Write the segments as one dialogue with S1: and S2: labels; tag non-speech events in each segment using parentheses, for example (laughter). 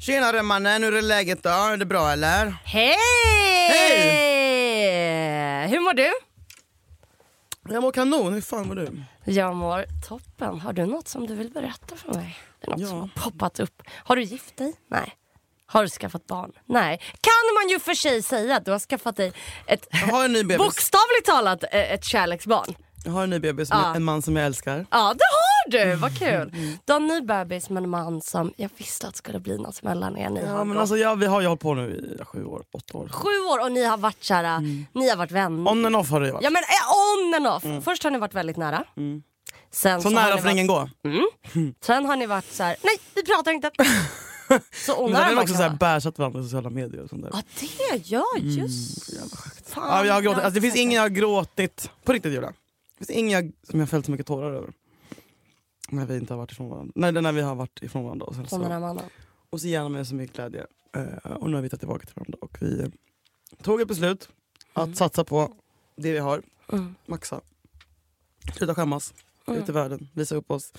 S1: Tjenare mannen, hur är läget då? Är det bra eller?
S2: Hej! Hur mår du?
S1: Jag mår kanon, hur fan mår du?
S2: Jag mår toppen. Har du något som du vill berätta för mig? Det är något
S1: Ja.
S2: som har poppat upp. Har du gift dig? Nej. Har du skaffat barn? Nej. Kan man ju för sig säga att du har skaffat dig
S1: (laughs)
S2: ett,
S1: Jag har en ny bebis,
S2: bokstavligt talat, eh, ett kärleksbarn.
S1: jag har en, ny bebis
S2: Ja.
S1: med en man som jag älskar.
S2: Ja, det har du! Vad
S1: Mm.
S2: kul. Du har en ny bebis med en man som jag visste att skulle bli något mellan er. Ni har
S1: Ja, men
S2: gått
S1: alltså, ja, vi har ju hållit på nu i sju år, åtta år.
S2: sju år och ni har varit, kära,
S1: Mm.
S2: ni har varit vänner.
S1: On and off har det ju varit.
S2: Ja men eh, on and off. Först har ni varit väldigt nära. Sen,
S1: Mm. Så
S2: har
S1: nära
S2: ni
S1: får ingen
S2: varit,
S1: gå.
S2: sen har ni varit så här: nej vi
S1: (laughs)
S2: pratar inte. så
S1: Men
S2: onar
S1: sen har
S2: man
S1: vi också
S2: kan
S1: så här
S2: vara.
S1: bärsat varandra i sociala medier och sånt där.
S2: Ja det, ja just. Fan,
S1: Ja, jag har gråtit.
S2: jag-
S1: Alltså, det finns ingen jag har gråtit, på riktigt Julia. Det finns ingen jag, som jag har fällt så mycket tårar över. När vi inte har varit ifrån varandra. Nej, det är när vi har varit ifrån varandra. Och sen
S2: Från den här
S1: så,
S2: mannen.
S1: och så ger han mig så mycket glädje. Eh, och nu har vi tagit tillbaka till varandra. Och vi eh, tog ett beslut att satsa på det vi har.
S2: Mm.
S1: Maxa. Sluta skämmas.
S2: Mm.
S1: Ut i världen. Visa upp oss.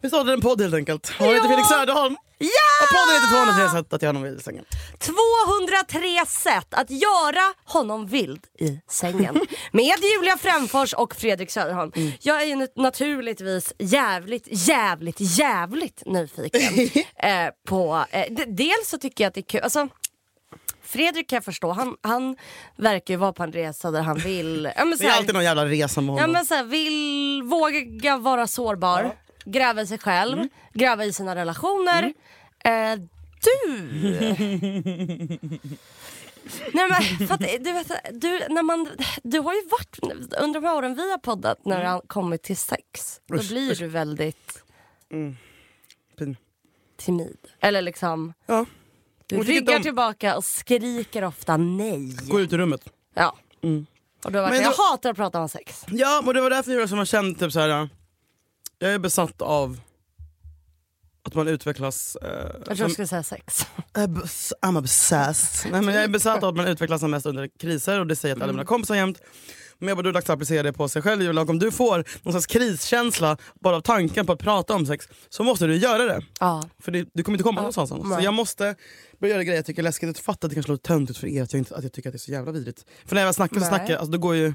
S1: Vi startade en podd helt enkelt. Och jag heter Felix Söderholm.
S2: Ja!
S1: Och podden heter 203
S2: Ah.
S1: sätt att göra honom vild i sängen.
S2: 203 sätt att göra honom vild i sängen. Med Julia Fränfors och Fredrik Söderholm. Jag är ju nat- naturligtvis jävligt, jävligt, jävligt nyfiken. eh, på, eh, d- dels så tycker jag att det är kul. Alltså, Fredrik kan jag förstå, han, han verkar ju vara på en resa där han vill... Ja, men så
S1: Det är
S2: här-
S1: alltid någon jävla resa med
S2: Ja
S1: honom.
S2: men såhär, vill våga vara sårbar, gräva i sig själv,
S1: Mm.
S2: gräva i sina relationer. Eh, du! (laughs) Nej men för att, du vet, du, när man, du har ju varit, under de här åren vi har poddat när det har kommit till sex, då
S1: Mm. Usch,
S2: blir du väldigt
S1: Pin.
S2: timid. Eller liksom,
S1: Ja.
S2: du
S1: Och vilket
S2: ryggar
S1: de-
S2: tillbaka och skriker ofta nej.
S1: Gå ut ur rummet.
S2: Ja.
S1: Mm.
S2: Och du har varit,
S1: Men
S2: jag
S1: då-
S2: hatar att prata om sex.
S1: Ja, men det var därför jag, som jag kände typ så här. jag är besatt av att man utvecklas... Eh,
S2: Jag tror
S1: som,
S2: jag skulle säga sex.
S1: Obs- I'm obsessed. Nej, men jag är besatt av att man utvecklas som mest under kriser och det säger jag till
S2: Mm.
S1: alla mina kompisar jämt. Men jag bara, du är dags att applicera det på sig själv Julia. Och Om du får någon slags kriskänsla bara av tanken på att prata om sex så måste du göra det.
S2: Ja.
S1: För det, du kommer inte komma någonstans annars. Så
S2: nej.
S1: jag måste börja göra grejer jag tycker är läskigt. Jag fattar att det kanske låter töntigt för er att jag, inte, att jag tycker att det är så jävla vidrigt. För när jag väl snackar så
S2: Nej.
S1: snackar jag, alltså, då går ju...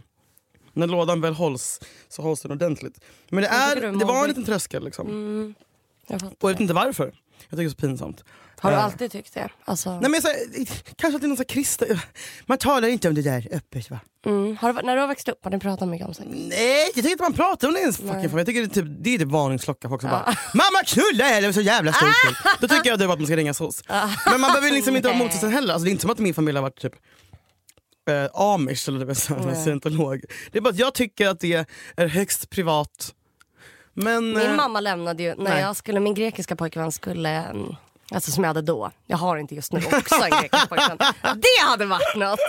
S1: När lådan väl hålls så hålls den ordentligt. Men det,
S2: Jag
S1: är,
S2: tycker du är
S1: det var en
S2: modig.
S1: liten tröskel liksom.
S2: Mm. Jag
S1: Och jag
S2: fattar.
S1: vet inte varför. Jag tycker det är så pinsamt.
S2: Har du
S1: Eh,
S2: alltid tyckt det? Alltså,
S1: Nej, men så, kanske att det är någon så här kristen... Man talar inte om det där öppet va?
S2: mm. har du, när du har växt upp, har ni pratat mycket om sex?
S1: Nej, jag tycker inte man pratar om det ens. Fucking
S2: Nej. Ah.
S1: fan. Jag tycker det är typ, det är typ varningsklocka. Folk som bara “mamma knulla är det så jävla stort kul." Då tycker jag typ att man ska ringa SOS. Men man behöver liksom inte vara
S2: Ah. (laughs) Nej.
S1: motsatsen heller. Alltså, det är inte som att min familj har varit typ eh, amish eller typ så här,
S2: Nej.
S1: scientolog. Det är bara att jag tycker att det är högst privat. Men, eh,
S2: Min mamma lämnade ju, när
S1: Nej.
S2: jag skulle, min grekiska pojkvän skulle, mm, alltså som jag hade då, jag har inte just nu också en grekisk pojkvän. Det hade varit något!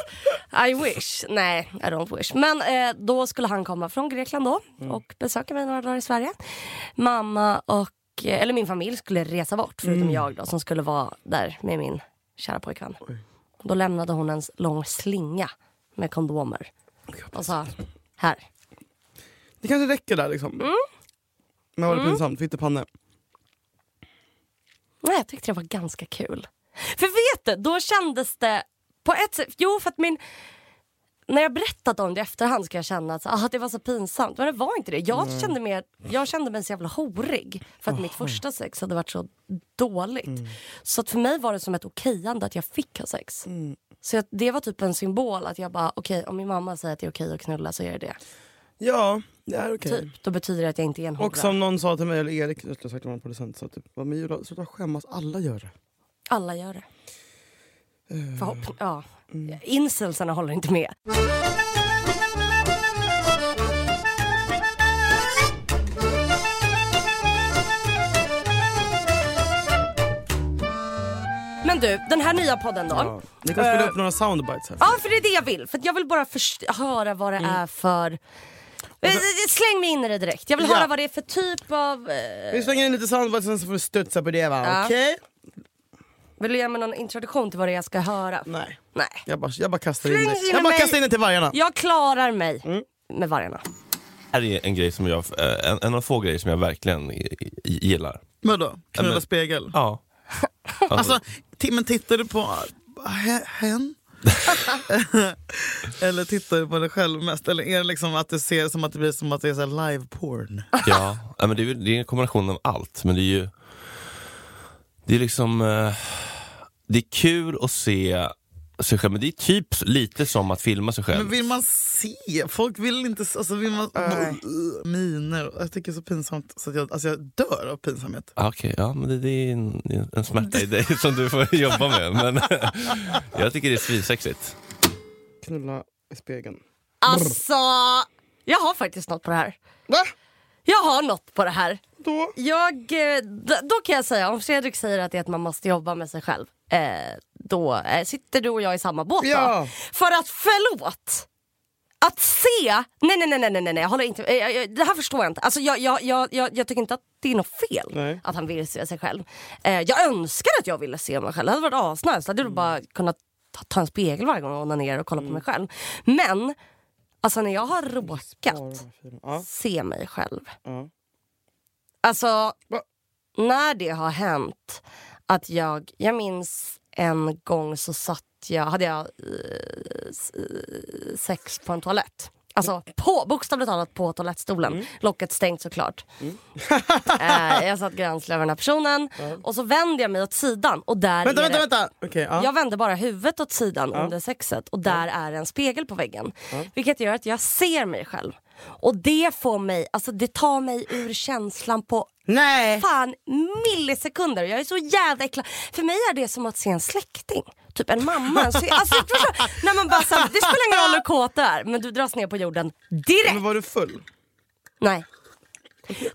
S2: I wish. Nej, I don't wish. Men eh, då skulle han komma från Grekland då och besöka mig några dagar i Sverige. Mamma och, eh, eller min familj skulle resa bort, förutom jag då som skulle vara där med min kära pojkvän. Då lämnade hon en lång slinga med kondomer och sa, här.
S1: det kanske räcker där liksom.
S2: Mm.
S1: Men var det pinsamt? Fittepanne.
S2: Nej, jag tyckte det var ganska kul. För vet du, då kändes det på ett sätt... Jo, för att min... När jag berättat om det i efterhand ska jag känna att så, ah, det var så pinsamt. Men det var inte det. Jag,
S1: Mm.
S2: kände, mer, jag kände mig så jävla horig för att mitt första sex hade varit så dåligt.
S1: Mm.
S2: Så att för mig var det som ett okejande att jag fick ha sex.
S1: Mm.
S2: Så att det var typ en symbol att jag bara, okej om min mamma säger att det är okej att knulla så är det det.
S1: Ja, det är okej.
S2: Typ. Då betyder det att jag inte är en hora.
S1: Och som någon sa till mig, eller Erik rättare sagt, det var en producent, sa typ, "Vad, men Julia, sluta skämmas, alla gör det.
S2: Alla gör det.
S1: Eh.
S2: Förhopp- ja.
S1: Mm.
S2: Incelsarna håller inte med. Men du, den här nya podden då. Ja, Eh. Ah.
S1: Ni kan spela upp några soundbites här.
S2: för det är det jag vill. För att jag vill bara först- höra vad det
S1: Mm.
S2: är för... Eh, Släng mig in i det direkt. Jag vill
S1: Ja.
S2: höra vad det är för typ av... eh,
S1: Vi slänger in lite soundbites sen så får du studsa på det va?
S2: Ja.
S1: Okej?
S2: Vill du ge mig någon introduktion till vad det är jag ska höra?
S1: Nej.
S2: Nej.
S1: Jag bara, jag bara kastar
S2: Släng
S1: in det.
S2: in
S1: Jag bara
S2: mig.
S1: kastar in det till vargarna.
S2: Jag klarar mig
S1: Mm.
S2: med vargarna.
S3: här är en grej som jag, eh, en, en av få grejer som jag verkligen i- i- gillar.
S1: Vadå?
S3: Ja, men-
S1: spegel?
S3: Ja. Alltså,
S1: Alltså, t- men tittar du på äh, he- (laughs) hen? eller tittar du på dig själv mest? Eller är det liksom att du ser som att det blir som att det är så här live porn?
S3: (laughs) ja. ja, men det är, ju- det är en kombination av allt. Men det är ju... Det är liksom... eh, Det är kul att se sig själv, men det är typ lite som att filma sig själv.
S1: Men vill man se? Folk vill inte... se- Alltså vill man...
S2: Nej.
S1: Miner. Jag tycker det är så pinsamt. Så att jag, alltså jag dör av pinsamhet.
S3: Ah, Okej, ja, men det, det är en, det är en smärta i dig (laughs) som du får jobba med. Men (laughs) jag tycker det är svinsexigt.
S1: Knulla i spegeln.
S2: Alltså, jag har faktiskt något på det här.
S1: Va?
S2: Jag har något på det här.
S1: Då?
S2: Jag, eh, d- då kan jag säga, om Fredrik säger att, det är att man måste jobba med sig själv, eh, då eh, sitter du och jag i samma båt.
S1: Ja.
S2: Då. För att förlåt, att se, nej nej nej nej nej, nej jag håller inte, eh, jag, jag, det här förstår jag inte. Alltså, jag, jag, jag, jag, jag tycker inte att det är något fel
S1: Nej.
S2: att han vill se sig själv. Eh, jag önskar att jag ville se mig själv, det hade varit asnice. Jag hade bara kunnat ta, ta en spegel varje gång och onanera och kolla
S1: Mm.
S2: på mig själv. Men, alltså när jag har råkat
S1: Ja.
S2: se mig själv.
S1: Ja.
S2: Alltså,
S1: Va?
S2: när det har hänt att jag... Jag minns en gång så satt jag, hade jag eh, s- eh, sex på en toalett.
S1: Mm.
S2: Alltså på, bokstavligt talat på toalettstolen. Locket stängt såklart.
S1: Mm.
S2: eh, jag satt gränsle över den här personen och så vände jag mig åt sidan och där
S1: Vänta,
S2: är
S1: vänta,
S2: det-
S1: vänta! Okej, ja.
S2: jag vände bara huvudet åt sidan under sexet och där är en spegel på väggen. Vilket gör att jag ser mig själv. Och det får mig, alltså det tar mig ur känslan på
S1: Nej!
S2: fan millisekunder. Jag är så jävla äcklad. För mig är det som att se en släkting. Typ en mamma. en sy- alltså, jag förstår, när man bara så här, det spelar ingen roll hur kåt du är men du dras ner på jorden direkt.
S1: Men var du full?
S2: Nej.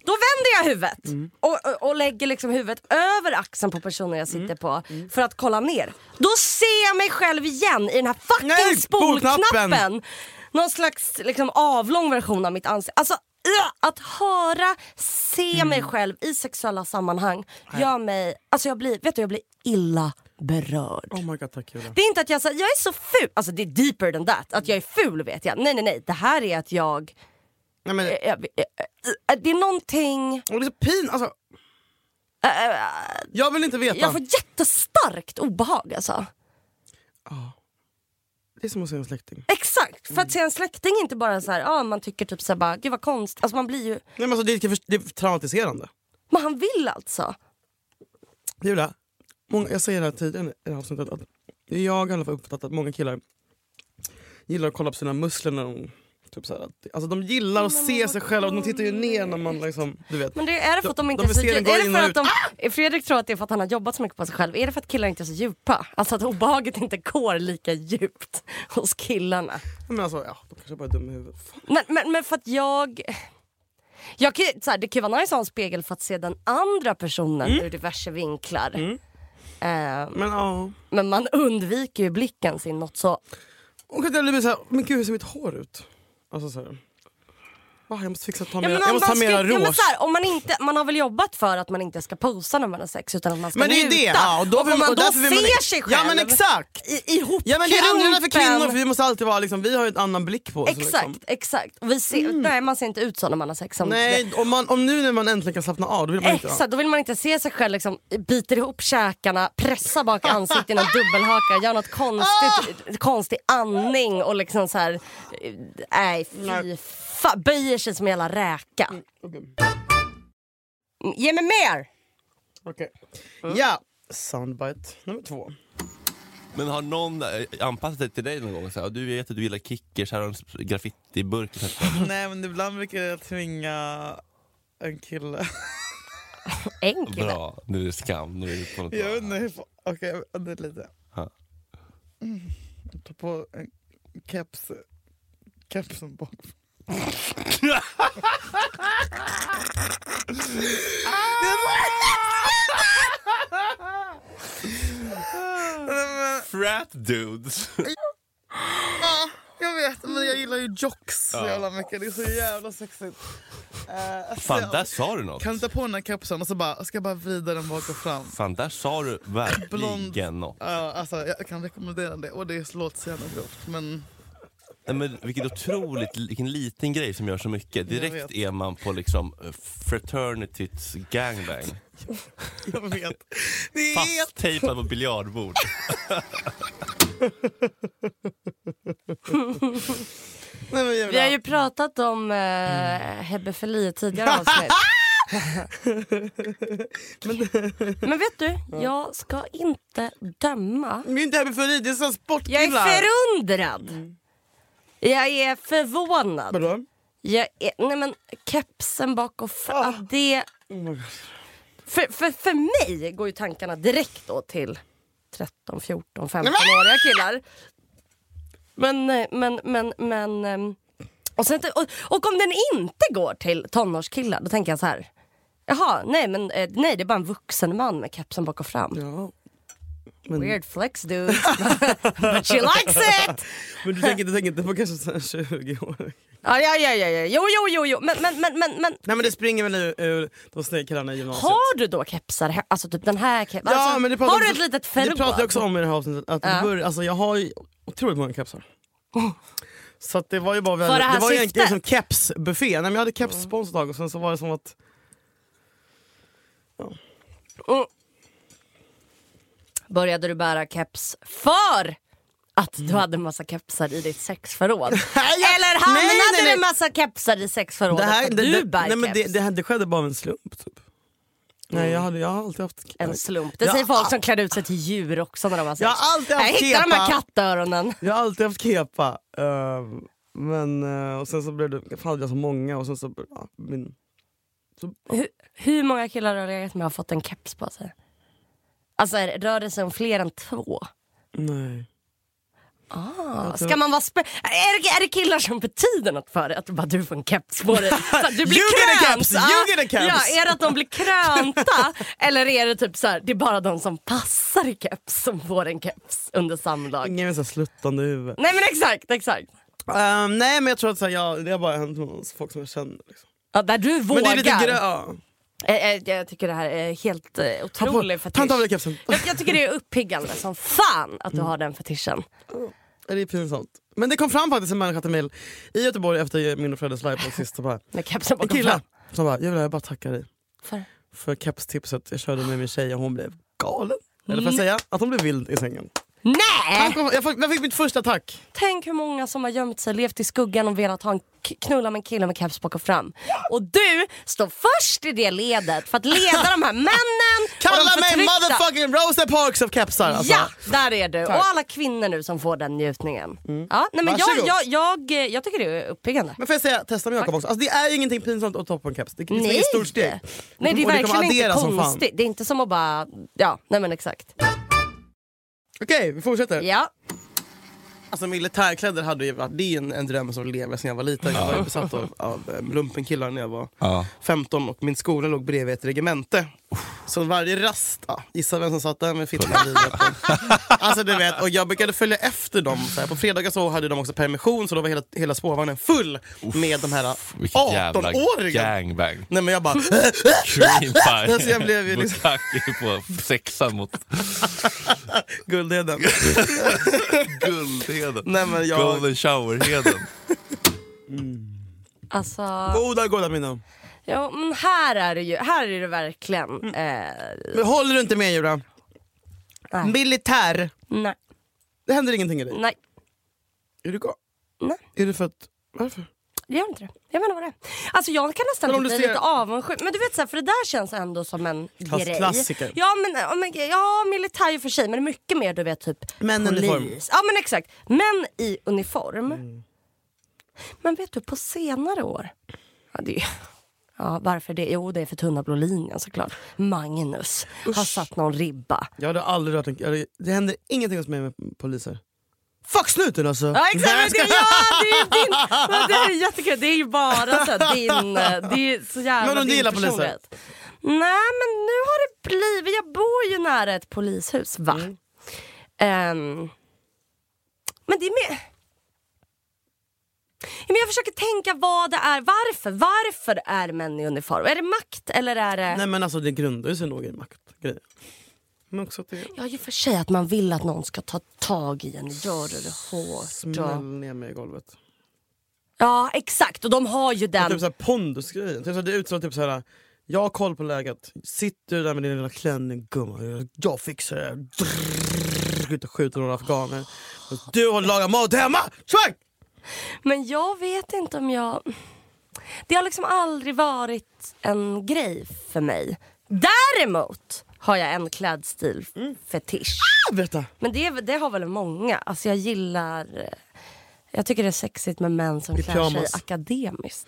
S2: Då vänder jag huvudet och, och, och lägger liksom huvudet över axeln på personen jag sitter på för att kolla ner. Då ser jag mig själv igen i den här fucking
S1: Nej,
S2: spolknappen.
S1: spolknappen.
S2: Någon slags liksom, avlång version av mitt ansikte. Alltså, ugh, att höra, se
S1: Mm.
S2: mig själv i sexuella sammanhang gör mig... Alltså jag blir, vet du, jag blir illa berörd.
S1: Oh my god, tack Julia.
S2: Det är inte att jag, så, jag är så ful, alltså det är deeper than that. Att jag är ful vet jag. Nej nej nej, det här är att jag
S1: Nej, men,
S2: Eh, eh, eh, eh, Det är någonting...
S1: det är så pin, alltså,
S2: eh, eh,
S1: jag vill inte veta.
S2: Jag får jättestarkt obehag alltså.
S1: Det är som att se en släkting.
S2: Exakt! För att se en släkting är inte bara så här, ah, man tycker typ så här bara, gud vad konstigt. Alltså man blir ju...
S1: Nej, men alltså, det, är, det är traumatiserande.
S2: Men han vill alltså.
S1: Julia, många, jag säger det här tidigare i det här avsnittet. Att jag har i alla fall uppfattat att många killar gillar att kolla på sina muskler när de... Typ så här, att, alltså, de gillar att se sig själva och de tittar ju ner när man liksom... Du vet.
S2: Men det, är det för att de inte
S1: De
S2: är så
S1: vill se den
S2: djupa?
S1: gå
S2: Är
S1: in
S2: det
S1: och ut.
S2: för att de, Ah! Eh, Fredrik tror att det är för att han har jobbat så mycket på sig själv. Är det för att killar inte är så djupa? Alltså att obehaget inte går lika djupt hos killarna.
S1: Men alltså, ja, de kanske bara är dumma i huvudet. Fan.
S2: Men, men, men för att jag... jag kan, ju- så här, det kan ju vara nice att ha en spegel för att se den andra personen
S1: Mm.
S2: ur diverse vinklar. Eh,
S1: Men ja...
S2: men man undviker ju blicken sin något så...
S1: Och att jag blir så här, men gud hur ser mitt hår ut? Alltså så här. Va, jag måste fixa ta
S2: Ja,
S1: mera,
S2: men
S1: jag
S2: man
S1: måste ta
S2: bara
S1: mera
S2: ska- ja, men
S1: rouge.
S2: så här, om man, inte, man har väl jobbat för att man inte ska posa när man har sex utan att man ska
S1: Men det är ju
S2: njuta.
S1: det. Ja, och då vill
S2: om man
S1: och
S2: då
S1: därför
S2: ser
S1: vill man,
S2: sig själv
S1: Ja men exakt.
S2: i, ihop
S1: Ja men det är anledningen för
S2: krumpen.
S1: kvinnor, för vi måste alltid vara liksom, vi har ju en annan blick på oss.
S2: Exakt,
S1: Liksom. Mm.
S2: exakt. Och vi ser, Nej man ser inte ut så när man har sex. Som
S1: Nej, om, man, om nu när man äntligen kan slappna av, då vill man inte
S2: Exakt, då vill man inte se sig själv liksom, biter ihop käkarna, pressar bak ansiktet i någon dubbelhaka, gör något
S1: Ah!
S2: konstigt, konstig andning och liksom så här, eh, nej fy fan, böjer sig som en jävla räka.
S1: Okej.
S2: Mm, Ge mig mer!
S1: Okej. Ja, soundbite nummer två.
S3: Men har någon eh, anpassat sig till dig någon gång? Så här, du vet att du gillar kickers, här har du en s- graffitiburk. Så här.
S1: (laughs) Nej men ibland brukar jag tvinga en kille. (laughs)
S2: Enkel.
S3: Bra, nu är det skam. Nu är det på något
S1: Jag vet
S3: bra.
S1: inte hur... fa- Okej, vänta lite.
S3: Ja.
S1: Mm. Ta på en keps. Kepsen bak.
S3: Frat dudes.
S1: Ja, jag vet. Men jag gillar ju jocks så jävla mycket. Det är så jävla sexigt. Eh, alltså,
S3: Fan,
S1: jag-
S3: där sa du något.
S1: Kan du ta på den här kepsen och så bara, ska jag bara vrida den bak och fram.
S3: Fan, där sa du
S1: Blond.
S3: verkligen något.
S1: Ja, alltså, jag kan rekommendera det och det låter så jävla grovt men
S3: Nej, men vilket otroligt, vilken liten grej som gör så mycket.
S1: Jag vet.
S3: Direkt är man på liksom eh, fraternity's gangbang.
S1: (laughs) Jag vet. Det är helt...
S3: Fasttejpad
S1: (laughs)
S3: på biljardbord.
S1: Nej, men
S2: Vi har
S1: Julia.
S2: ju pratat om eh, hebefili i tidigare (laughs) avsnitt. Men vet du, jag ska inte döma.
S1: Men Det är inte hebefili, det är sån
S2: Jag är
S1: sportkillar.
S2: förundrad. Jag är förvånad.
S1: Vadå?
S2: Jag är, nej men kepsen bak och fram. att Det,
S1: Oh my God.
S2: för, för, för mig går ju tankarna direkt då till 13, 14, 15-åriga killar. Men, eh, men, men, men... ehm, Och, sen, och, och om den inte går till tonårskillar, då tänker jag så här. Jaha, nej men eh, nej, det är bara en vuxen man med kepsen bak och fram.
S1: Ja. Men,
S2: Weird flex dude. (laughs) But she likes it!
S1: men du, tänker, du tänker inte på kanske så här 20 (laughs) år?
S2: Ja, ja, ja, ja, ja. Jo, jo, jo, jo. Men, men, men, men, men
S1: Nej men det springer väl ur, ur de snygga killarna i gymnasiet.
S2: har du då kepsar? he- Alltså typ den här kepsen?
S1: Ja,
S2: alltså,
S1: men det pratar
S2: har du
S1: vi-
S2: ett litet
S1: Det
S2: förråd?
S1: pratade jag också om i det här avsnittet. Att
S2: Ja.
S1: ja. bör, alltså, jag har ju otroligt många kepsar. Så att det var ju bara
S2: För det
S1: väldigt,
S2: här
S1: det var ju
S2: syftet?
S1: egentligen som kepsbuffé. Nej, men jag hade keps på onsdag och sen så var det som att...
S2: Mm. Började du bära keps för att du hade massa kepsar i ditt
S1: (laughs)
S2: sexförråd? Eller
S1: Mm.
S2: hamnade
S1: Nej, nej, nej.
S2: du massa kepsar i sexförrådet
S1: Det, här,
S2: för
S1: det,
S2: att du
S1: det,
S2: bär
S1: nej, men det,
S2: keps?
S1: det, här- det skedde bara av en slump. Typ. Mm. Nej, jag, hade, jag har alltid haft...
S2: En slump. Det
S1: Ja.
S2: säger folk som klär ut sig till djur också när de har sex.
S1: Jag har alltid
S2: Jag
S1: haft
S2: hittar de här
S1: kepa.
S2: kattöronen.
S1: Jag har alltid haft kepa. ehm, men, eh, och sen så blev det, fan hade jag så många och sen så... Ja, min,
S2: Hur, hur många killar har du legat med har fått en keps på sig? Alltså är det- rör det sig om fler än två?
S1: nej.
S2: Ah, Ska man vara spe- är, det, är det killar som betyder något för dig? Att du bara du får en keps
S1: (laughs)
S2: på dig. Så att du blir
S1: You get a
S2: krönt,
S1: keps,
S2: ja.
S1: you get a keps.
S2: Ja, är det att de blir krönta (laughs) eller är det typ så här, det är bara de som passar i keps som får en keps under samlag?
S1: Ingen med så här sluttande huvud.
S2: Nej men exakt, exakt.
S1: Ehm, nej men jag tror att så här, jag, det har bara hänt med folk som jag känner. Liksom.
S2: Ja, där du
S1: Men
S2: vågar.
S1: det är lite grö... ja.
S2: jag, jag, Eh, jag tycker det här är helt eh,
S1: Ta på-
S2: otrolig
S1: Ta inte av
S2: fetisch.
S1: dig kepsen.
S2: Jag, jag tycker det är uppiggande som fan att du
S1: Mm.
S2: har den fetischen.
S1: Det är pinsamt. Men det kom fram faktiskt en människa till mig i Göteborg efter min och Freddes
S2: (laughs)
S1: livepodd sist. och bara,
S2: Med kepsen
S1: En
S2: bakom
S1: kille
S2: fram.
S1: som bara, Julia jag bara tackar dig
S2: För-
S1: för kepstipset. Jag körde med min tjej och hon blev galen. Eller
S2: Mm.
S1: får jag säga att hon blev vild i sängen.
S2: Äh.
S1: Han
S2: Nej!
S1: kom, jag, fick, jag fick mitt första tack.
S2: Tänk hur många som har gömt sig, levt i skuggan och velat ha en k- knulla med en kille med keps bak och fram. Och du står först i det ledet för att leda de här männen och
S1: Kalla
S2: de
S1: mig
S2: förtryckta.
S1: motherfucking Rosa Parks of kepsar. Alltså.
S2: Ja, där är du.
S1: Tack. Mm.
S2: Och alla kvinnor nu som får den njutningen. Ja, nej men jag,
S1: Varsågod.
S2: jag, jag, eh, jag tycker det är uppiggande.
S1: Men får jag säga, testa med Jakob också. Alltså, det är ingenting pinsamt att ta på en keps. Det, det är
S2: Nej.
S1: ett stort steg.
S2: Nej det är
S1: Och kommer
S2: verkligen inte
S1: addera som fan.
S2: konstigt. Det är inte som att bara, ja nej men exakt.
S1: Okej, vi fortsätter.
S2: Ja.
S1: Alltså militärkläder hade ju varit, det är ju en, en dröm som lever sedan jag var liten. Jag var ju besatt av, av eh, lumpenkillar när jag var
S3: Ja.
S1: 15 och min skola låg bredvid ett regemente. Så varje rast, ja, gissa vem som satt där med fittan i huvudet. Alltså du vet, och jag brukade följa efter dem. Så här. På fredagar så hade de också permission så då var hela, hela spårvagnen full med de här
S3: Vilket jävla
S1: 18-åringarna.
S3: gangbang.
S1: Nej men jag bara,
S3: Cream
S1: (laughs)
S3: pie.
S1: Alltså, jag blev ju liksom-
S3: Bukkake på sexan mot
S1: guldheden.
S3: guldheden.
S1: Nej men jag,
S3: Golden shower-heden.
S2: Alltså,
S1: goda goda minnen.
S2: ja, men här är det ju, här är det verkligen.
S1: Mm.
S2: Eh,
S1: Men håller du inte med Julia?
S2: nej.
S1: Militär,
S2: nej,
S1: det händer ingenting i dig.
S2: nej,
S1: Är du galen?
S2: nej.
S1: Är det för att, varför?
S2: Det gör inte det. Jag vet inte vad det är. Alltså jag kan
S1: Men
S2: nästan typ
S1: om
S2: bli
S1: du ser-
S2: lite avundsjuk. Men du vet så här, för det där känns ändå som en
S1: Klass-
S2: grej.
S1: klassiker.
S2: Ja men, ja, men ja, militär i och för sig men det är mycket mer du vet typ
S1: Män i
S2: polis.
S1: uniform.
S2: Ja men exakt. Män i uniform. Men vet du på senare år. Ja, det ja varför det? Jo det är för tunna blå linjen såklart. Magnus har satt någon ribba.
S1: Jag hade aldrig rört en... jag hade- Det händer ingenting hos mig med poliser. Fuck snuten alltså!
S2: Ja exakt, men det, ja, det är ju din, men det är ju jättekul. Det är ju bara så
S1: (laughs)
S2: här, din, eh, det är så jävla
S1: Men om du
S2: din
S1: gillar poliser?
S2: personlighet. Nej men nu har det blivit, jag bor ju nära ett polishus va?
S1: Mm.
S2: Ehm, men det är mer... Ja, Men jag försöker tänka vad det är, varför? Varför är män i uniform? Är det makt eller är det...
S1: Nej men alltså det grundar ju sig nog i maktgrejer. Men också att det
S2: Ja, ju för sig att man vill att någon ska ta tag i en och göra det hårt.
S1: smäller
S2: Och...
S1: ner mig i golvet.
S2: Ja, exakt. Och de har ju
S1: Och Typ
S2: den.
S1: såhär pondusgrejen. Typ så här, det är ut som typ såhär, jag har koll på läget. Sitter du där med din lilla klänning gumman, jag fixar det. här. Drrrr, Ut och skjuter några afghaner. Du har lagat mat hemma! Svang!
S2: Men jag vet inte om jag... Det har liksom aldrig varit en grej för mig. Däremot har jag en Mm. klädstil-fetisch.
S1: Berätta!
S2: Men det, det har väl många. Alltså jag gillar... eh, Jag tycker det är sexigt med män som
S1: I
S2: klär sig
S1: pyjamas.
S2: akademiskt.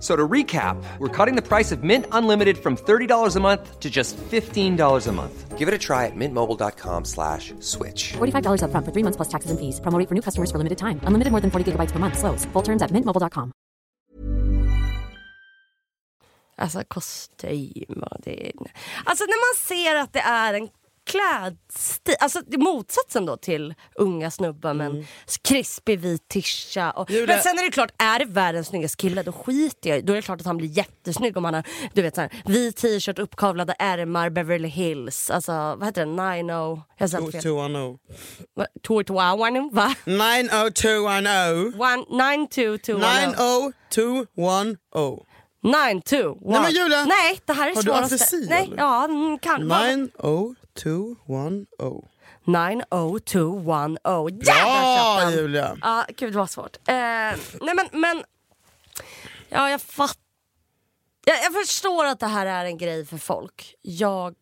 S4: So to recap, we're cutting the price of Mint Unlimited from $30 a month to just $15 a month. Give it a try at mintmobile.com slash switch.
S5: $45 up front for three months plus taxes and fees. Promo rate for new customers for limited time. Unlimited more than 40 gigabytes per month. Slows. Full terms at mintmobile.com.
S2: Alltså kostym och det. Alltså när man ser att det är en klädstil, alltså det är motsatsen då till unga snubbar med
S1: Mm.
S2: en krispig vit tisha. Och,
S1: Julia-
S2: men sen är det klart, är det världens snyggaste kille då skiter jag i- Då är det klart att han blir jättesnygg om han har du vet, så här, vit t-shirt, uppkavlade ärmar, Beverly Hills. Alltså vad heter den? 90... Jag sa fel.
S1: 220.
S2: Va? 221, va?
S1: 90210.
S2: One-
S1: oh-
S2: 92210. oh.
S1: 90210.
S2: 921.
S1: Nej, men Julia!
S2: Nej, det här är
S1: Har du
S2: svåraste.
S1: afesi,
S2: Nej,
S1: eller?
S2: ja, mm, kan, vad-
S1: 90210.
S2: 90210. oh. Jävlar
S1: Bra
S2: tjatan!
S1: Julia!
S2: Ja, gud det var svårt. Eh, nej men, men... Ja, jag fattar. Jag, jag förstår att det här är en grej för folk. Jag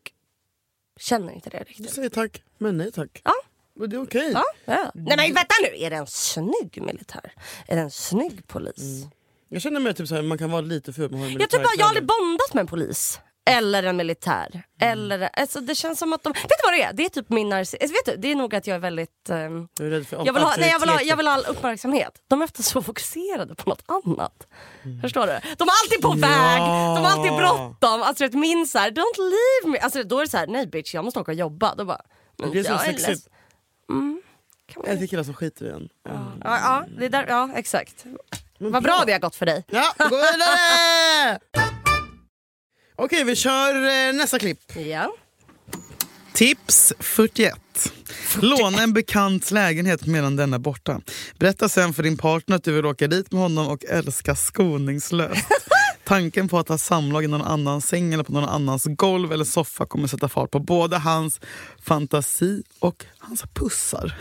S2: känner inte det
S1: Du
S2: riktigt.
S1: säger tack, men nej tack.
S2: Ja.
S1: Men det är okej.
S2: Ja, ja. Nej men vänta nu, är det en snygg militär? Är det en snygg polis?
S1: Jag känner mig typ såhär, man kan vara lite ful men har en
S2: Jag, typ bara, jag har
S1: militärkläder.
S2: aldrig bondat med en polis. Eller en militär.
S1: Mm.
S2: Eller, alltså det känns som att de... Vet du vad det är? Det är typ min narcissism. Vet du, det är nog att jag är väldigt... ehm,
S1: Jag är rädd för
S2: Jag vill, ha, nej, jag, vill ha,
S1: auktoritet.
S2: jag vill ha all uppmärksamhet. De är ofta så fokuserade på något annat. Förstår du? De är alltid på väg, de har alltid bråttom. Alltså, du vet, min så här, don't leave me. Alltså, då är det så här, nej bitch jag måste åka och jobba. Då bara, men
S1: Det är så
S2: jag
S1: sexigt.
S2: leds- Kan man...
S1: Jag tycker alltså skiter i en.
S2: ja, ja, det är där, ja, exakt. Vad bra det har gått för dig.
S1: Ja, gå
S2: (laughs)
S1: vidare! Okej, vi kör eh, nästa klipp.
S2: Ja.
S6: Tips 41. Låna en bekants lägenhet medan den är borta. Berätta sen för din partner att du vill åka dit med honom och älska skoningslöst. Tanken på att ha samlag i någon annans säng eller på någon annans golv eller soffa kommer sätta fart på både hans fantasi och hans pussar.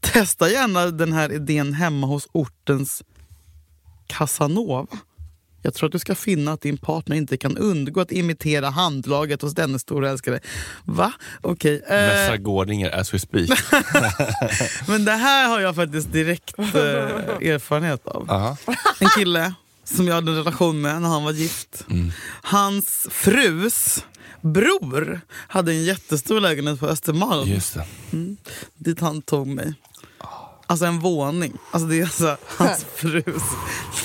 S6: Testa gärna den här idén hemma hos ortens Casanova. Jag tror att du ska finna att din partner inte kan undgå att imitera handlaget hos denne stora älskare. Va? Okej. eh,
S3: Vässa Gårdinger as
S1: (laughs)
S3: we speak.
S6: men det här har jag faktiskt direkt eh, erfarenhet av.
S3: Aha.
S6: En kille som jag hade en relation med när han var gift. Hans frus bror hade en jättestor lägenhet på Östermalm
S3: Just det.
S6: dit han tog mig. Alltså en våning. Alltså det är alltså hans frus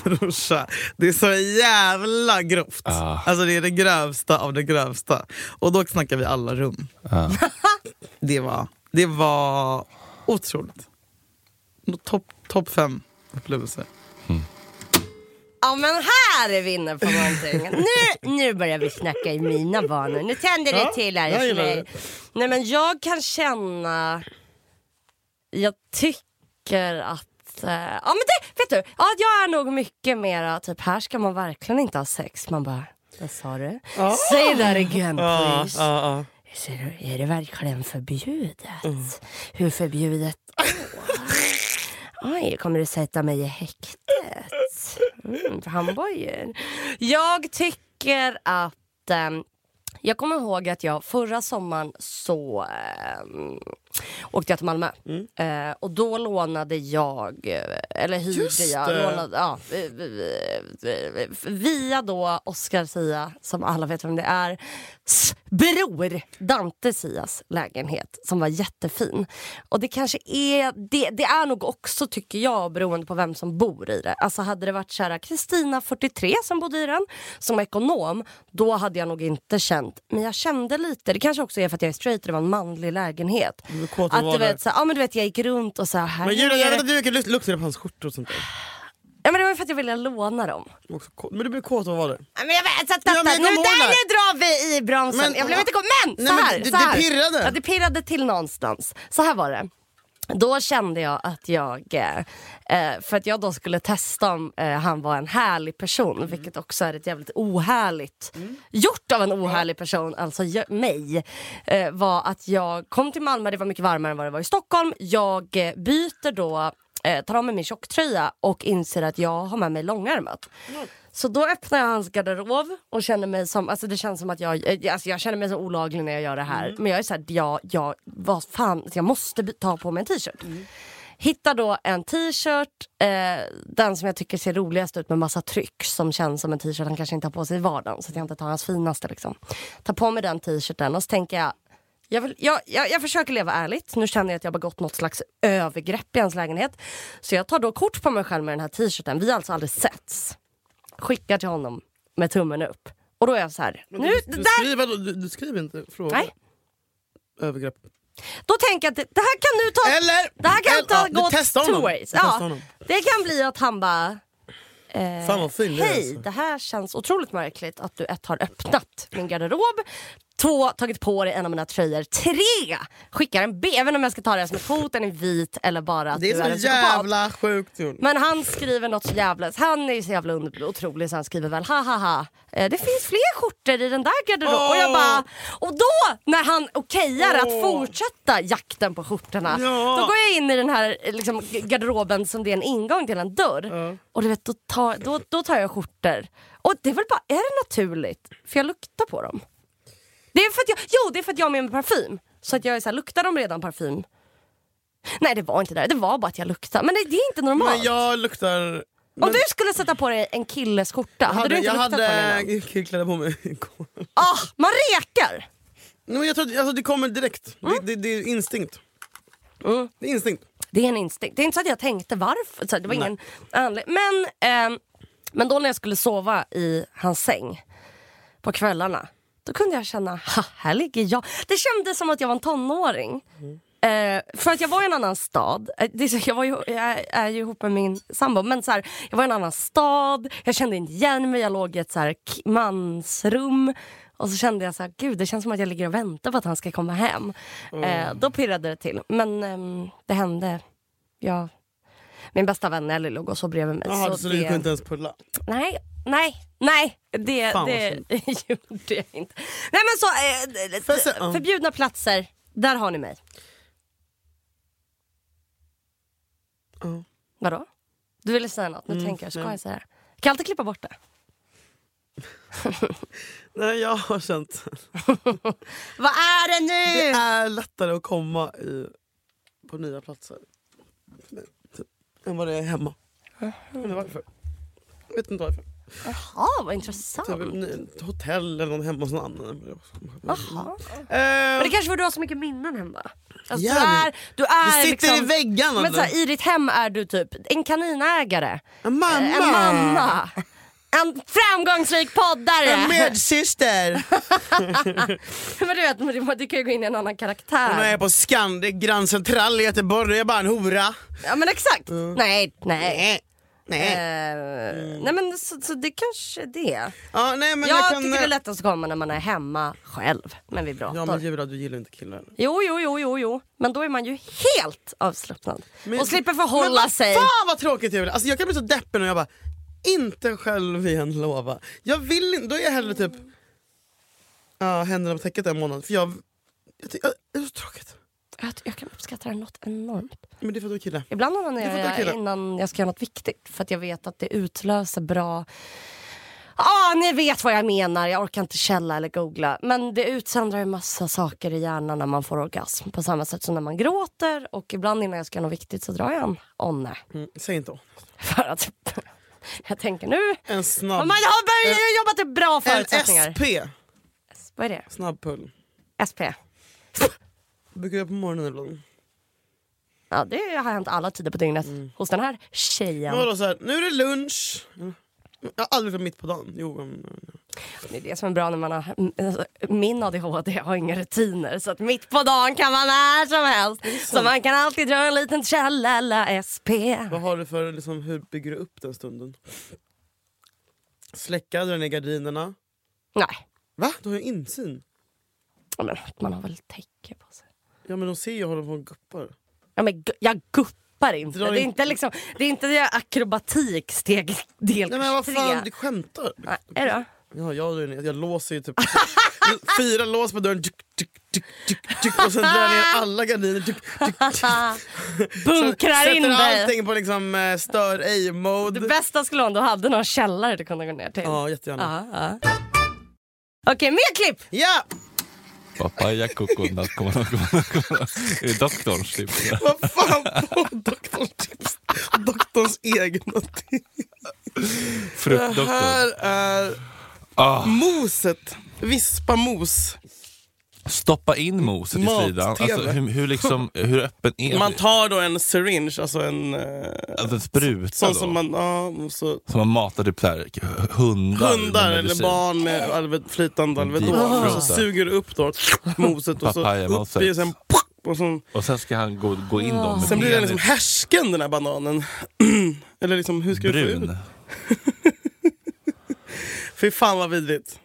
S6: brorsa. Det är så jävla grovt. Alltså det är det grövsta av det grövsta. Och då snackar vi alla rum. (laughs) Det, var, det var otroligt. Topp top fem upplevelser.
S2: ja men här är vi inne på någonting. Nu, nu börjar vi snacka i mina banor. Nu tänder det
S1: Ja,
S2: till här
S1: jag
S2: för
S1: gillar
S2: mig.
S1: det.
S2: Nej men jag kan känna... Jag tycker att... Eh, ja men det, vet du? Ja, jag är nog mycket mera typ här ska man verkligen inte ha sex. Man bara, vad sa du? Say that again please.
S1: Ja,
S2: Så är det- är det verkligen förbjudet?
S1: Mm.
S2: Hur förbjudet då? Oj, kommer du sätta mig i häktet? Mm, för handbojor. Jag tycker att... ehm, jag kommer ihåg att jag förra sommaren så... ehm, åkte jag till Malmö.
S1: Mm.
S2: Eh, och då lånade jag, eh, eller hyrde
S1: Just
S2: jag,
S1: det.
S2: lånade, ja, eh, eh, eh, via då Oscar Sia, som alla vet vem det är, s bror Dante Sias lägenhet som var jättefin. Och det kanske är, det, det är nog också tycker jag beroende på vem som bor i det. Alltså hade det varit kära Kristina 43 som bodde i den som ekonom, då hade jag nog inte känt, men jag kände lite, det kanske också är för att jag är straight och det var en manlig lägenhet.
S1: var kåt att
S2: Att du
S1: vara
S2: vet, så, ja, men du vet jag gick runt och så här,
S1: Men Julia,
S2: är
S1: jag
S2: det-
S1: vet att du luk- luktade på hans skjortor och sånt där.
S2: Ah. ja, men det var ju för att jag ville låna dem.
S1: Du var också kåt. Men du blev kåt av vad var det?
S2: Nej, Men jag vet, så att,
S1: Ja, men jag
S2: nu,
S1: kommer ihåg
S2: där,
S1: det.
S2: nu drar vi i bromsen.
S1: Men-
S2: jag blev inte kom, men,
S1: Nej,
S2: så
S1: men
S2: här,
S1: det- det
S2: så här.
S1: pirrade.
S2: Ja, det pirrade till någonstans. Så här var det. Då kände jag att jag, eh, eh, för att jag då skulle testa om eh, han var en härlig person,
S1: Mm.
S2: vilket också är ett jävligt ohärligt, gjort av en ohärlig person, alltså jag, mig, eh, var att jag kom till Malmö, det var mycket varmare än vad det var i Stockholm. Jag eh, byter då, eh, tar av mig min tjocktröja och inser att jag har med mig långärmat. Så då öppnar jag hans garderob och känner mig som, alltså det känns som att jag, eh, alltså jag känner mig så olaglig när jag gör det här. Men jag är såhär, jag, jag, vad fan, alltså jag måste by- ta på mig en t-shirt. Hittar då en t-shirt, eh, den som jag tycker ser roligast ut med massa tryck som känns som en t-shirt han kanske inte har på sig i vardagen så att jag inte tar hans finaste liksom. Tar på mig den t-shirten och så tänker jag, jag, vill, jag, jag, jag försöker leva ärligt, nu känner jag att jag har begått något slags övergrepp i hans lägenhet. Så jag tar då kort på mig själv med den här t-shirten, vi har alltså aldrig setts skickar till honom med tummen upp. Och då är jag så här, nu,
S1: Du,
S2: det
S1: du,
S2: där,
S1: skriver, du, du skriver inte fråga?
S2: nej.
S1: Övergrepp.
S2: Då tänker jag att det, det här kan nu ta...
S1: Eller-
S2: det här kan
S1: eller-
S2: ta,
S1: ja, vi
S2: gå
S1: testar
S2: two
S1: honom.
S2: ways.
S1: Vi testar
S2: Ja,
S1: honom.
S2: det kan bli att han bara... Eh,
S1: Fan, vad fin det är,
S2: Hej,
S1: alltså."
S2: det här känns otroligt märkligt att du ett har öppnat min garderob, två tagit på dig en av mina tröjor, tre skickar en B, även om jag ska ta det som ett hot, den är vit eller bara att
S1: Det
S2: du är
S1: är
S2: en
S1: så
S2: psykopat.
S1: jävla sjukt Jon.
S2: Men han skriver något så jävla... Han är ju så jävla under- otrolig så han skriver väl ha ha ha. eh, Det finns fler skjortor i den där garderoben.
S1: Åh.
S2: Och jag bara... Och då när han okejar att
S1: Åh.
S2: fortsätta jakten på skjortorna.
S1: Ja.
S2: Då går jag in i den här eh, liksom, g- garderoben som det är en ingång till en dörr. Och du vet då tar, då, då tar jag skjortor. Och det är väl bara... Är det naturligt? För jag luktar på dem. Det är för att jag, jo det är för att jag har med mig parfym. Så att jag är så här, luktar de redan parfym? Nej det var inte det, det var bara att jag luktade. Men det, det är inte normalt.
S1: Men jag luktar...
S2: Om du skulle sätta på dig en killes skjorta, hade, du inte
S1: jag
S2: luktat på den
S1: hade (laughs)
S2: innan?
S1: kläder på mig igår.
S2: Ah, man rekar!
S1: Nej, men jag tror att, alltså, det kommer direkt. Det, det, det är instinkt. Det är instinkt.
S2: Det är en instinkt. Det är inte så att jag tänkte varför. Så här, det var ingen anledning. Men, ehm, men då när jag skulle sova i hans säng på kvällarna, då kunde jag känna, ha, här ligger jag. Det kändes som att jag var en tonåring. Eh, för att jag var i en annan stad. Eh, Det är så, jag, var ju, jag är ju ihop med min sambo. Men så här, jag var i en annan stad, jag kände inte igen mig. Jag låg i ett så här k- mansrum. Och så kände jag så här, gud det känns som att jag ligger och väntar på att han ska komma hem. Eh, då pirrade det till. Men ehm, det hände. Jag, min bästa vän Nelly låg och så bredvid mig.
S1: Jaha, så, du kunde inte ens pulla?
S2: Nej, nej, nej. Det,
S1: Fan, vad
S2: det (laughs) gjorde jag inte. Nej men så, eh, d-
S1: jag se- ja.
S2: förbjudna platser, där har ni mig.
S1: Ja. Mm,
S2: Vadå? Du ville säga något, nu tänker jag, ska jag säga det? här? Jag kan alltid klippa bort det.
S1: Nej, jag har känt
S2: Vad är det nu?
S1: det (laughs) är lättare att komma i, på nya platser än vad det är hemma. Jag vet inte varför. Jag vet inte varför.
S2: Jaha, vad intressant.
S1: Typ ny- ett hotell eller någon hemma hos någon annan.
S2: Jaha.
S1: Eh,
S2: Men det kanske för att du har så mycket minnen hemma. Alltså, du
S1: Jävlar.
S2: är, du är
S1: Du sitter
S2: liksom,
S1: i väggarna.
S2: Men så
S1: eller?
S2: här, i ditt hem är du typ en kaninägare.
S1: en mamma!
S2: En mamma. En framgångsrik poddare.
S1: En medsyster!
S2: (laughs) Men du vet, men du- du kan ju gå in i en annan
S1: Hon är
S2: karaktär.
S1: på Scandic Grand Central i Göteborg. Jag är bara en hora.
S2: Ja men exakt. Nej, nej.
S1: Nej.
S2: Eh,
S1: Mm. Nej.
S2: Nej men så, så det kanske är det.
S1: Ja, nej, men
S2: jag
S1: jag kan,
S2: tycker det är lättast att komma när man är hemma själv med vibrator.
S1: Ja men Julia du gillar inte killar.
S2: Jo, jo, jo, jo, jo. Men då är man ju helt avslappnad. och slipper förhålla
S1: men,
S2: sig.
S1: Fan vad tråkigt Julia. Alltså, jag kan bli så deppig när jag bara, inte själv igen lova. Jag vill inte, då är jag hellre typ, ja händerna på täcket en månad. För jag, jag, ty- jag, det är så tråkigt.
S2: Jag, jag kan uppskatta det här något enormt.
S1: Men det är för att du är kille.
S2: Ibland
S1: Det får
S2: onanerar
S1: ta
S2: jag
S1: kille.
S2: innan jag ska göra något viktigt för att jag vet att det utlöser bra Ah, ni vet vad jag menar. Jag orkar inte källa eller googla. Men det utsöndrar en massa saker i hjärnan när man får orgasm. På samma sätt som när man gråter och ibland innan jag ska göra något viktigt så drar jag en ånne.
S1: Mm, säg inte åh.
S2: (laughs) För att (laughs) jag tänker nu...
S1: En snabb...
S2: Man har börjat jobba till bra
S1: en
S2: förutsättningar.
S1: SP.
S2: Vad är det?
S1: Snabbpull.
S2: SP?
S1: Brukar jag på morgonen ibland.
S2: Ja, det har hänt alla tider på dygnet
S1: Mm.
S2: hos den här tjejen.
S1: Men vadå så här, nu är det lunch. Jag har aldrig varit mitt på dagen. Jo, men-
S2: Det är det som är bra när man har... alltså, Min ADHD har inga rutiner så att mitt på dagen kan man när som helst. Så man kan alltid dra en liten tjallala SP.
S1: vad har du för, liksom, hur bygger du upp den stunden? Släcka, dra ner gardinerna.
S2: Nej,
S1: Va? Du har ju insyn.
S2: ja, men man har väl täcke på sig.
S1: Ja men de ser ju hur de får guppar.
S2: Ja, men gu- jag guppar inte.
S1: Drar
S2: Det är
S1: in-
S2: inte, liksom, det är inte det här akrobatik steg del
S1: Nej men vad fan,
S2: tre.
S1: du skämtar?
S2: Nej,
S1: (laughs)
S2: är det?
S1: Ja, jag, drar ner- jag låser ju typ (laughs) fyra lås på dörren tuk, tuk, tuk, tuk, tuk, och sen drar jag ner alla gardiner. Tuk, tuk, tuk.
S2: (laughs) Bunkrar in
S1: Sätter
S2: dig.
S1: allting på liksom, eh, stör ej-mode.
S2: Det bästa skulle vara om du hade någon källare du kunde gå ner till.
S1: Ja, jättegärna.
S2: Ja, ja. Okej, mer klipp!
S1: Ja!
S3: Papaya coconut, kom igen, kom igen, kom igen. Är det doktorns typ?
S1: Vad fan (laughs) på doktorns tips? Doktorns egna tips. Det
S3: Fruktdoktorn.
S1: här är
S3: Ah.
S1: moset. Vispa mos.
S3: Stoppa in moset i
S1: Mat,
S3: slidan. Alltså,
S1: TV.
S3: hur, hur, liksom, hur öppen är
S1: Man
S3: man
S1: tar då en syringe, alltså en eh,
S3: alltså, en spruta
S1: sån
S3: då?
S1: som man, ja, och så,
S3: som man matar typ så här, hundar,
S1: hundar
S3: med
S1: eller
S3: medicin.
S1: barn med alve- flytande Alvedon.
S3: Deep
S1: Så
S3: frozen.
S1: suger du upp då moset och så
S3: Papayamoset.
S1: upp i och sen och sen,
S3: Och sen ska han gå, gå in dem med
S1: sen blir den
S3: benet.
S1: liksom härsken den här bananen. (clears throat) eller liksom hur ska du få ut
S3: brun.
S1: Fy fan vad vidrigt.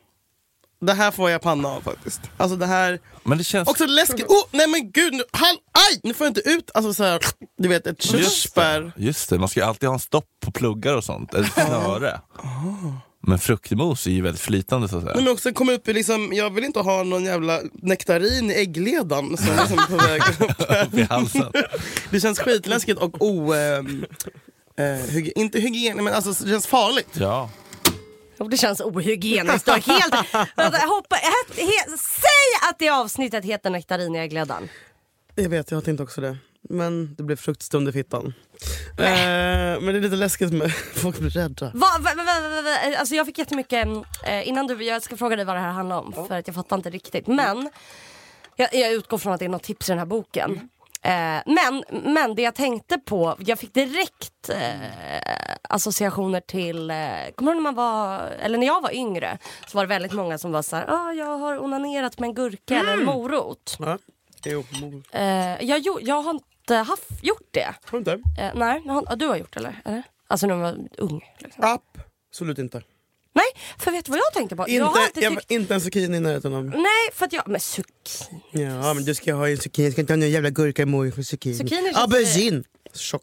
S1: Det här får jag panna av faktiskt. Alltså det här...
S3: Men det känns...
S1: Också läskigt. Oh, nej men gud, nu, han, aj! Nu får jag inte ut, alltså så här, du vet ett
S3: Just det,
S1: körsbär.
S3: just det, man ska ju alltid ha en stopp på pluggar och sånt. Eller snöre. Men fruktmos är ju väldigt flytande så att säga.
S1: Ah. Nej, men också kom upp i liksom, jag vill inte ha någon jävla nektarin i äggledan som liksom är på väg upp
S3: (laughs)
S1: där.
S3: I halsen.
S1: Det känns skitläskigt och o... ehm, eh, hyg- inte hygien, men alltså det känns farligt.
S3: Ja.
S2: Jo, det känns ohygieniskt. Du har helt, Vänta, jag hoppa, he, he, säg att det avsnittet heter Nektarin i äggledaren.
S1: Jag vet, jag tänkte också det. Men det blev fruktstund i fittan. Eh, men det är lite läskigt med (laughs) folk blir rädda.
S2: Va, va, va, va, va, va, alltså jag fick jättemycket, eh, innan du, jag ska fråga dig vad det här handlar om för att jag fattar inte riktigt. Men jag, jag utgår från att det är något tips i den här boken. Eh, men, men det jag tänkte på, jag fick direkt eh, associationer till, eh, kommer du ihåg när man var, eller när jag var yngre så var det väldigt många som var såhär, ah, jag har onanerat med en gurka eller en morot.
S1: Ja. Jo, mor.
S2: Eh, jag, gjo- jag har inte haft, gjort det.
S1: Har du inte?
S2: Eh, nej, jag har- ja, du har gjort eller? eller? Alltså när man var ung. Liksom.
S1: Absolut inte.
S2: Nej, för vet du vad jag tänkte på? jag har
S1: Inte,
S2: alltid
S1: jag,
S2: tyckt...
S1: inte en zucchini i närheten av
S2: Nej, för att jag... Men zucchini.
S1: Ja men du ska ha en zucchini, jag ska inte ha någon jävla gurka i moj för zucchini.
S2: Zucchini känns-
S1: Aubergine! Tjock.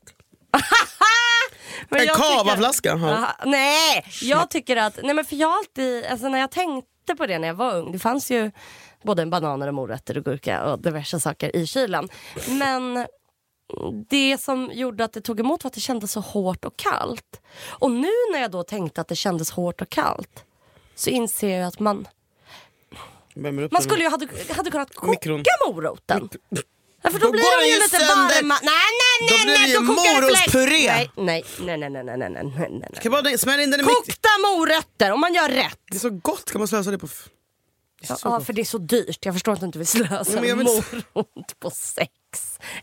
S2: Men
S1: En
S2: jag tycker-
S1: kavaflaska, ja.
S2: Aha, nej, jag tycker att... Nej men för jag har alltid... Alltså när jag tänkte på det när jag var ung. Det fanns ju både bananer och morötter och gurka och diverse saker i kylen. Men det som gjorde att det tog emot var att det kändes så hårt och kallt. Och nu när jag då tänkte att det kändes hårt och kallt så inser jag att man...
S1: Värmer upp
S2: Man
S1: den.
S2: skulle ju hade, hade kunnat koka
S1: Mikron.
S2: moroten. Ja, för då,
S1: Då
S2: blir
S1: går
S2: de
S1: den
S2: ju
S1: ju
S2: lite
S1: sönder.
S2: varma. Nej, nej,
S1: Då
S2: nej,
S1: blir det
S2: nej,
S1: ju
S2: då kokar det fläsk.
S1: morotspuré.
S2: Nej, nej, nej, nej, nej, nej, nej, nej, nej, nej.
S1: Kan bara det- smäll in den i mik-
S2: Kokta morötter om man gör rätt.
S1: Det är så gott, kan man slösa det på... f- Det är så
S2: Ja,
S1: gott.
S2: för det är så dyrt. Jag förstår att du inte vill slösa
S1: Nej, men
S2: en
S1: jag vill inte-
S2: morot på sex.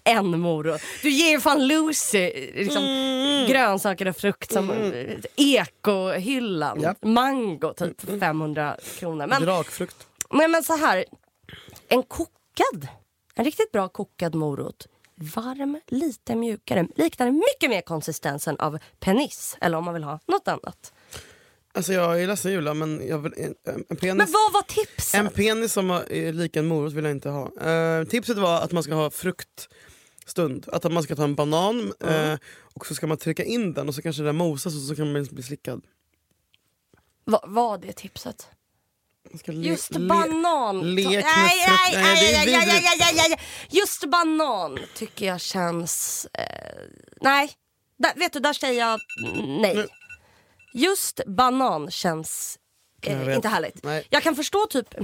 S2: En morot. Du ger ju fan Lucy liksom,
S1: Mm.
S2: grönsaker och frukt som mm. ekohyllan.
S1: Ja.
S2: Mango typ 500 kronor. Men
S1: Drakfrukt.
S2: Men, men så här, en kokad, en riktigt bra kokad morot. Varm, lite mjukare. Liknar mycket mer konsistensen av penis. Eller om man vill ha något annat.
S1: Alltså jag är ledsen Julia men jag vill, en, en
S2: Men
S1: penis...
S2: vad var
S1: En
S2: tipsen?
S1: penis som har- är lik en morot vill jag inte ha. Eh, tipset var att man ska ha fruktstund. Att man ska ta en banan
S2: Mm.
S1: eh, och så ska man trycka in den och så kanske den mosas och så kan man liksom bli slickad.
S2: Vad var det tipset?
S1: Man ska le-
S2: Just
S1: le-
S2: banan.
S1: lek med
S2: Nej,
S1: frukt.
S2: nej, nej,
S1: Nej, det är
S2: nej, nej,
S1: vidrigt.
S2: nej, nej, nej. Just banan tycker jag känns... Eh, nej. Där, vet du, där säger jag nej. Just banan känns
S1: Jag
S2: eh,
S1: vet.
S2: inte härligt.
S1: Nej.
S2: Jag kan förstå typ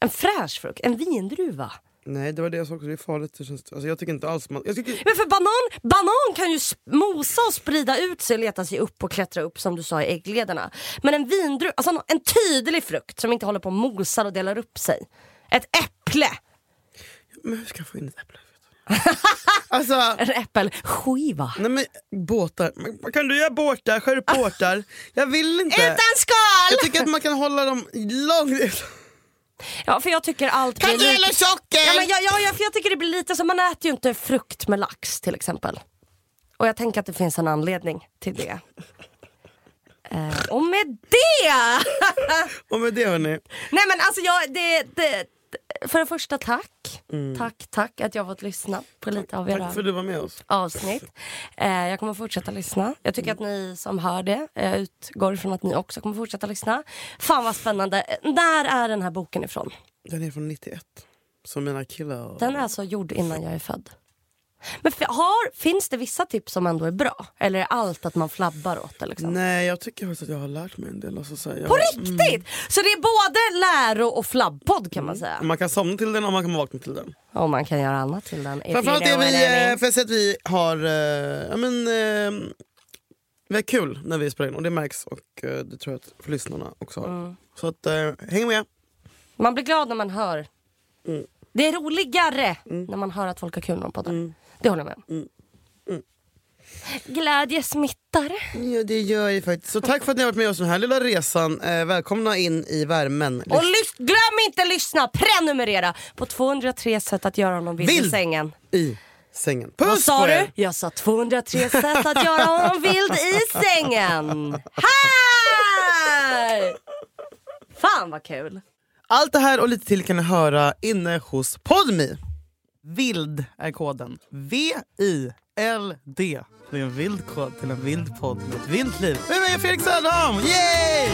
S2: en fräsch frukt, en vindruva.
S1: Nej det var det jag sa också, det är farligt. Det känns, alltså, jag tycker inte alls man... Jag tycker,
S2: Men för banan, banan kan ju s- mosa och sprida ut sig, leta sig upp och klättra upp som du sa i äggledarna. Men en vindruva, alltså en- en tydlig frukt som inte håller på och mosar och delar upp sig. Ett äpple,
S1: men hur ska jag få in ett äpple?
S2: (laughs)
S1: alltså,
S2: en äppelskiva.
S1: nej men båtar. Men Kan du göra båtar? Skär upp båtar? Jag vill inte.
S2: Utan skal!
S1: Jag tycker att man kan hålla dem långt...
S2: Ja för jag tycker allt blir lite...
S1: socker?
S2: Ja, men jag, jag, jag, för jag tycker det blir lite så, man äter ju inte frukt med lax till exempel. Och jag tänker att det finns en anledning till det. Eh, och med det!
S1: Och med det hörni.
S2: Nej men alltså jag, det, det, för det första tack. Tack, tack att jag har fått lyssna på lite av era
S1: Mm. Tack för att du var med oss.
S2: avsnitt. Eh, jag kommer fortsätta lyssna. Jag tycker
S1: Mm.
S2: att ni som hör det, jag utgår ifrån att ni också kommer fortsätta lyssna. Fan vad spännande. Eh, När är den här boken ifrån?
S1: Den är från 91. Som mina killar.
S2: Den är alltså gjord innan jag är född. Men f- har, finns det vissa tips som ändå är bra? Eller är allt att man flabbar åt det? Liksom?
S1: Nej jag tycker faktiskt att jag har lärt mig en del. Alltså, så här, jag,
S2: På riktigt! Så det är både läro och flabbpodd kan man säga.
S1: Man kan somna till den och man kan vakna till den.
S2: Och man kan göra annat till den. If
S1: Framförallt
S2: you
S1: är
S2: know what I
S1: vi,
S2: mean.
S1: eh, för jag ser att vi har, eh, ja men, eh, vi har kul när vi spelar in och det märks och eh, det tror jag att för lyssnarna också har.
S2: Mm.
S1: Så att, eh, häng med!
S2: Man blir glad när man hör.
S1: Mm.
S2: Det är roligare när man hör att folk har kul när de poddar.
S1: Mm.
S2: Det håller jag med om. Glädje smittar.
S1: Ja det gör jag faktiskt. Så tack för att ni har varit med oss den här lilla resan. Eh, välkomna in i värmen.
S2: Och lys- glöm inte lyssna, prenumerera på 203 sätt att göra honom vild i
S1: Vild.
S2: sängen.
S1: I sängen.
S2: Vad
S1: Puss
S2: sa
S1: på er!
S2: du? Jag sa 203 sätt att göra honom
S1: (laughs)
S2: vild i sängen. Hej! Fan vad kul.
S1: Allt det här och lite till kan ni höra inne hos Podmi. Vild är koden. V-I-L-D. Det är en vild kod till en vild podd med ett vilt liv. Med mig Felix Sandholm! Yay!